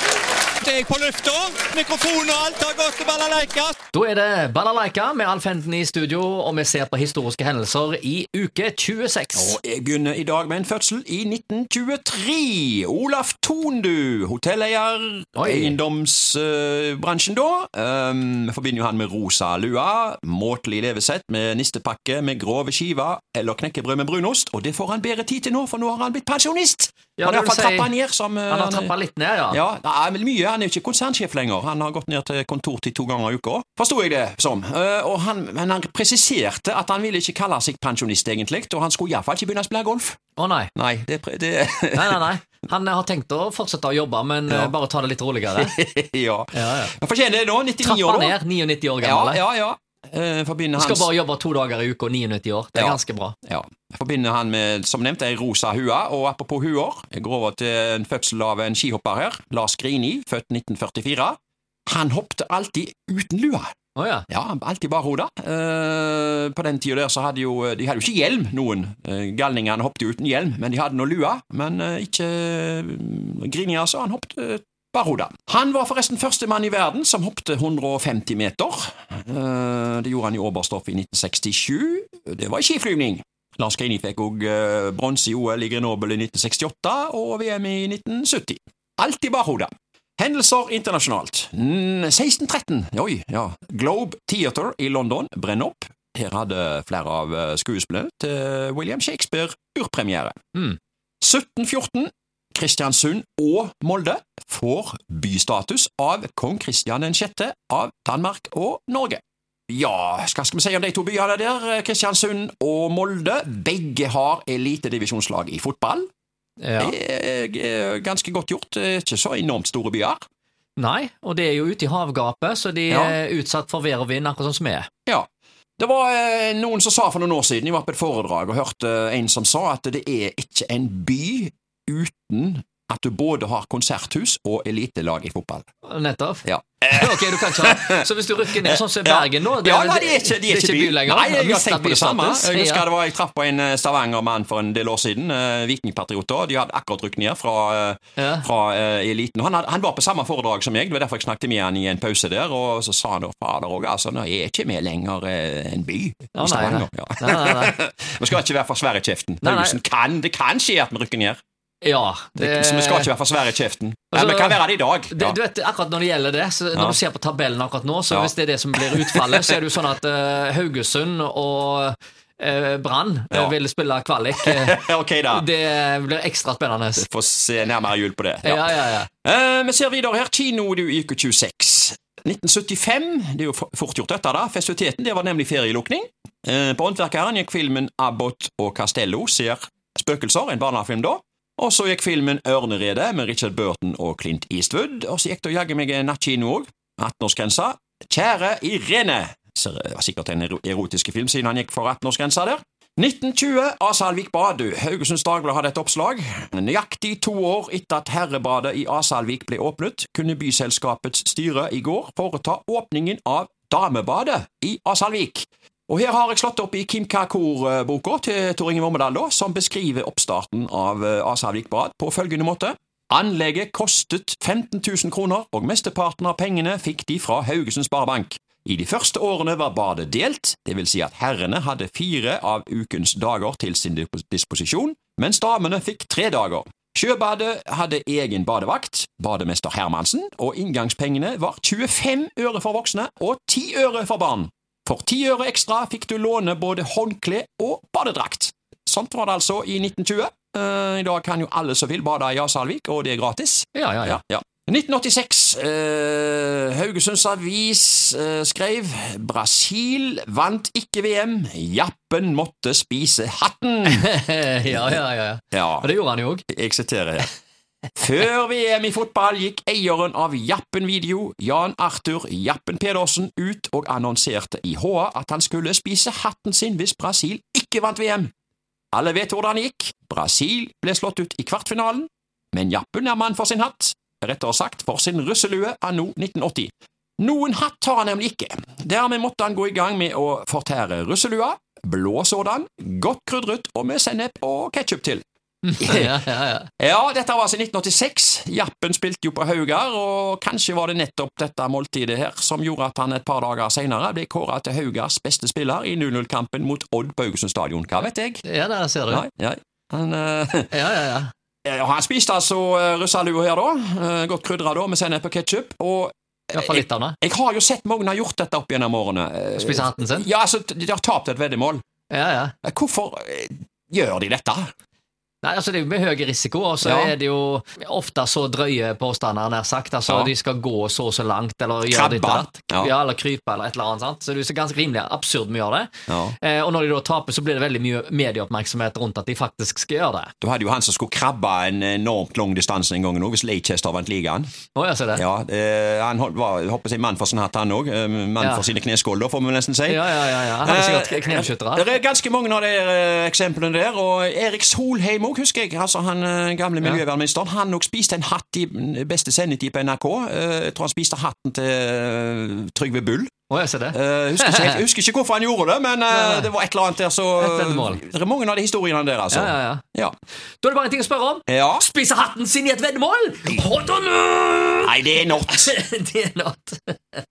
Snart er jeg på lufta. Mikrofon og alt har gått til balalaika. Da er det Balalaika med Alf Henden i studio, og vi ser på historiske hendelser i uke 26. Og jeg begynner i dag med en fødsel i 1923. Olaf Thondu, hotelleier, Oi. eiendomsbransjen da. Um, forbinder jo han med rosa lua, måtelig levesett med nistepakke med grove skiver eller knekkebrød med brunost, og det får han bedre tid til nå, for nå har han blitt pensjonist. Ja, han det har vil fått si- trappa ned som eh, Han har han er- trappa litt ned, ja. Ja, nei, men mye. Han er jo ikke konsernsjef lenger. Han har gått ned til kontortid to ganger i uka. Forsto jeg det som. Eh, og han, men han presiserte at han ville ikke kalle seg pensjonist, egentlig, og han skulle iallfall ikke begynne å spille golf. Å nei. Nei, det, pre- det Nei, nei, nei. Han eh, har tenkt å fortsette å jobbe, men Ja. eh, bare ta det litt roligere. Ja. Ja, ja. Han fortjener det nå. 99 Trappa år, da. ned, 99 år Ja, gammel. ja, ja. Eh, forbinder, Skal hans, bare jobbe to dager i uka, 99 år. Det er Ja. ganske bra. ja. forbinder han med, som nevnt, ei rosa hue. Og apropos huer, jeg går over til en fødsel av en skihopper her. Lars Grini, født 1944. Han hoppte alltid uten lue. Å ja. Ja, alltid barhoda. Eh, på den tida der så hadde jo eh, De hadde jo ikke hjelm, noen. Eh, Galningene hoppet jo uten hjelm, men de hadde nå lua. Men eh, ikke eh, Grini, altså. Han hoppet eh, barhoda. Han var forresten førstemann i verden som hoppet 150 meter. Eh, det gjorde han i Oberstdorf i 1967. Det var i skiflyvning. Lars Grini fikk òg eh, bronse i OL i Grenoble i 1968 og VM i 1970. Alltid barhoda. Hendelser internasjonalt. Mm, 1613. Oi, ja. Globe Theatre i London brenner opp. Her hadde flere av eh, skuespillene til William Shakespeare urpremiere. Mm. 1714. Kristiansund og Molde får bystatus av kong Kristian 6. av Danmark og Norge. Ja, hva skal vi si om de to byene der? eh, Kristiansund og Molde. Begge har elitedivisjonslag i fotball. ja. Det er eh, ganske godt gjort. Det er Ikke så enormt store byer. Nei, og det er jo ute i havgapet, så de Ja. er utsatt for vær og vind, akkurat sånn som vi er. Ja. Det var eh, noen som sa for noen år siden, jeg var på et foredrag og hørte eh, en som sa at det er ikke en by uten at du både har konserthus og elitelag i fotball. Nettopp. Ja. Ok, du kan ikke ha Så hvis du rykker ned sånn som i Ja. Bergen nå ja, nei, de er ikke, de er ikke by. lenger. Nei, jeg har Mistet tenkt på det samme. bystatus. Jeg Ja. husker det var, jeg traff på en eh, stavangermann for en del år siden, eh, vikingpatriot da. De hadde akkurat rykket ned fra, eh, Ja. fra eh, eliten. Og Han, hadde, han var på samme foredrag som meg, det var derfor jeg snakket med han i en pause der, og så sa han da, fader òg, altså, nå er ikke vi lenger eh, en by Ja, nei, i Stavanger. Ja. Nei, nei, nei. Vi skal ikke være for svære i kjeften. Nei, nei. Haugesund kan, det kan skje at vi rykker ned. Ja, Det, så vi skal ikke være for svære i kjeften. Nei, Altså, vi kan være det i dag. Det, du vet, akkurat Når det gjelder det, så når Ja. du ser på tabellen akkurat nå, så Ja. hvis det er det som blir utfallet, så er det jo sånn at eh, Haugesund og eh, Brann eh, Ja. vil spille kvalik. Eh, Ja. ok, da. det blir ekstra spennende. Vi får se nærmere jul på det. Ja, Ja. ja, ja. Eh, vi ser videre her. Kino du, i uke 26. 1975, det er jo for- fort gjort dette, da. Festiviteten det var nemlig ferielukning. Eh, på Håndverkeren gikk filmen Abbott og Castello ser spøkelser, en barnefilm da. Og så gikk filmen Ørneredet med Richard Burton og Clint Eastwood. Og så gikk det jaggu meg en nattkino òg. 18-årsgrensa. Kjære Irene. Så det var sikkert en ero- erotiske film siden han gikk for 18-årsgrensa der. 1920, Asalvik Badu. Haugesunds Dagblad hadde et oppslag. Nøyaktig to år etter at herrebadet i Asalvik ble åpnet, kunne byselskapets styre i går foreta åpningen av damebadet i Asalvik. Og her har jeg slått opp i Kim Kakor-boka til Tor Inge Vormedal, da, som beskriver oppstarten av eh, Asalvik bad på følgende måte. Anlegget kostet 15 000 kroner, og mesteparten av pengene fikk de fra Haugesund Sparebank. I de første årene var badet delt, det vil si at herrene hadde fire av ukens dager til sin dispos- disposisjon, mens damene fikk tre dager. Sjøbadet hadde egen badevakt, bademester Hermansen, og inngangspengene var 25 øre for voksne og 10 øre for barn. For 10 øre ekstra fikk du låne både håndkle og badedrakt. Sånt var det altså i 1920. Eh, I dag kan jo alle som vil bade i Asalvik, og det er gratis. ja, ja, ja. 1986. eh, Haugesunds Avis eh, skrev Brasil vant ikke VM. Jappen måtte spise hatten. ja, ja, ja. Ja, Og det gjorde han jo òg. jeg siterer her. Før VM i fotball gikk eieren av Jappen Video, Jan Arthur Jappen Pedersen, ut og annonserte i HA at han skulle spise hatten sin hvis Brasil ikke vant VM. Alle vet hvordan det gikk. Brasil ble slått ut i kvartfinalen, men Jappen er mann for sin hatt, rettere sagt for sin russelue anno 1980. Noen hatt har han nemlig ikke. Dermed måtte han gå i gang med å fortære russelua, blå sådan, godt krydret og med sennep og ketsjup til. Ja, ja, ja. Ja, dette var altså 1986. Jappen spilte jo på Haugar, og kanskje var det nettopp dette måltidet her som gjorde at han et par dager senere ble kåra til Haugars beste spiller i 0-0-kampen mot Odd på Haugesund stadion. Hva vet jeg? ja der ser du. Nei, nei. Han, eh, Ja, ja, ja. ja, han spiste altså eh, russalua her, da. Eh, godt krydra da, med sennep og ketsjup. Og I hvert fall litt av det. jeg har jo sett mange har gjort dette opp gjennom årene. Eh, Spise hatten sin. Ja, altså, de har tapt et veddemål. Ja, ja. Eh, Hvorfor eh, gjør de dette? Nei, altså Det er jo med høy risiko, og så Ja. er det jo ofte så drøye påstander, nær sagt. Altså Ja. De skal gå så og så langt, eller gjøre Krabbe. ditt eller datt. Ja. Ja. eller krype, eller et eller annet. sant? Så det er jo ganske rimelig absurd mye av det. Ja. Eh, og når de da taper, så blir det veldig mye medieoppmerksomhet rundt at de faktisk skal gjøre det. Du hadde jo han som skulle krabbe en enormt lang distanse en gang nå, hvis Leicester vant ligaen. Å, jeg ser det. Ja, eh, han hol- var hoppet sin mann for sånn sin hatt, han òg. eh, Mann Ja. for sine kneskåler, får vi nesten si. Ja, ja, ja. ja. Han er Eh, sikkert knebeskyttere. Det er ganske mange av de eh, eksemplene der. Og Erik Solheim òg, husker jeg. Altså Han eh, gamle miljøvernministeren. Han òg spiste en hatt i beste sendetid på NRK. Eh, Jeg tror han spiste hatten til eh, Trygve Bull. Å, jeg ser det. Eh, Husker ikke, helt- husker ikke hvorfor han gjorde det, men eh, nei. det var et eller annet der, så Et veddemål. Det er mange av de historiene der, altså. Ja, ja, ja. ja. Da er det bare en ting å spørre om. Ja. Spiser hatten sin i et veddemål? Hot or not? Nei, det er not. det er not.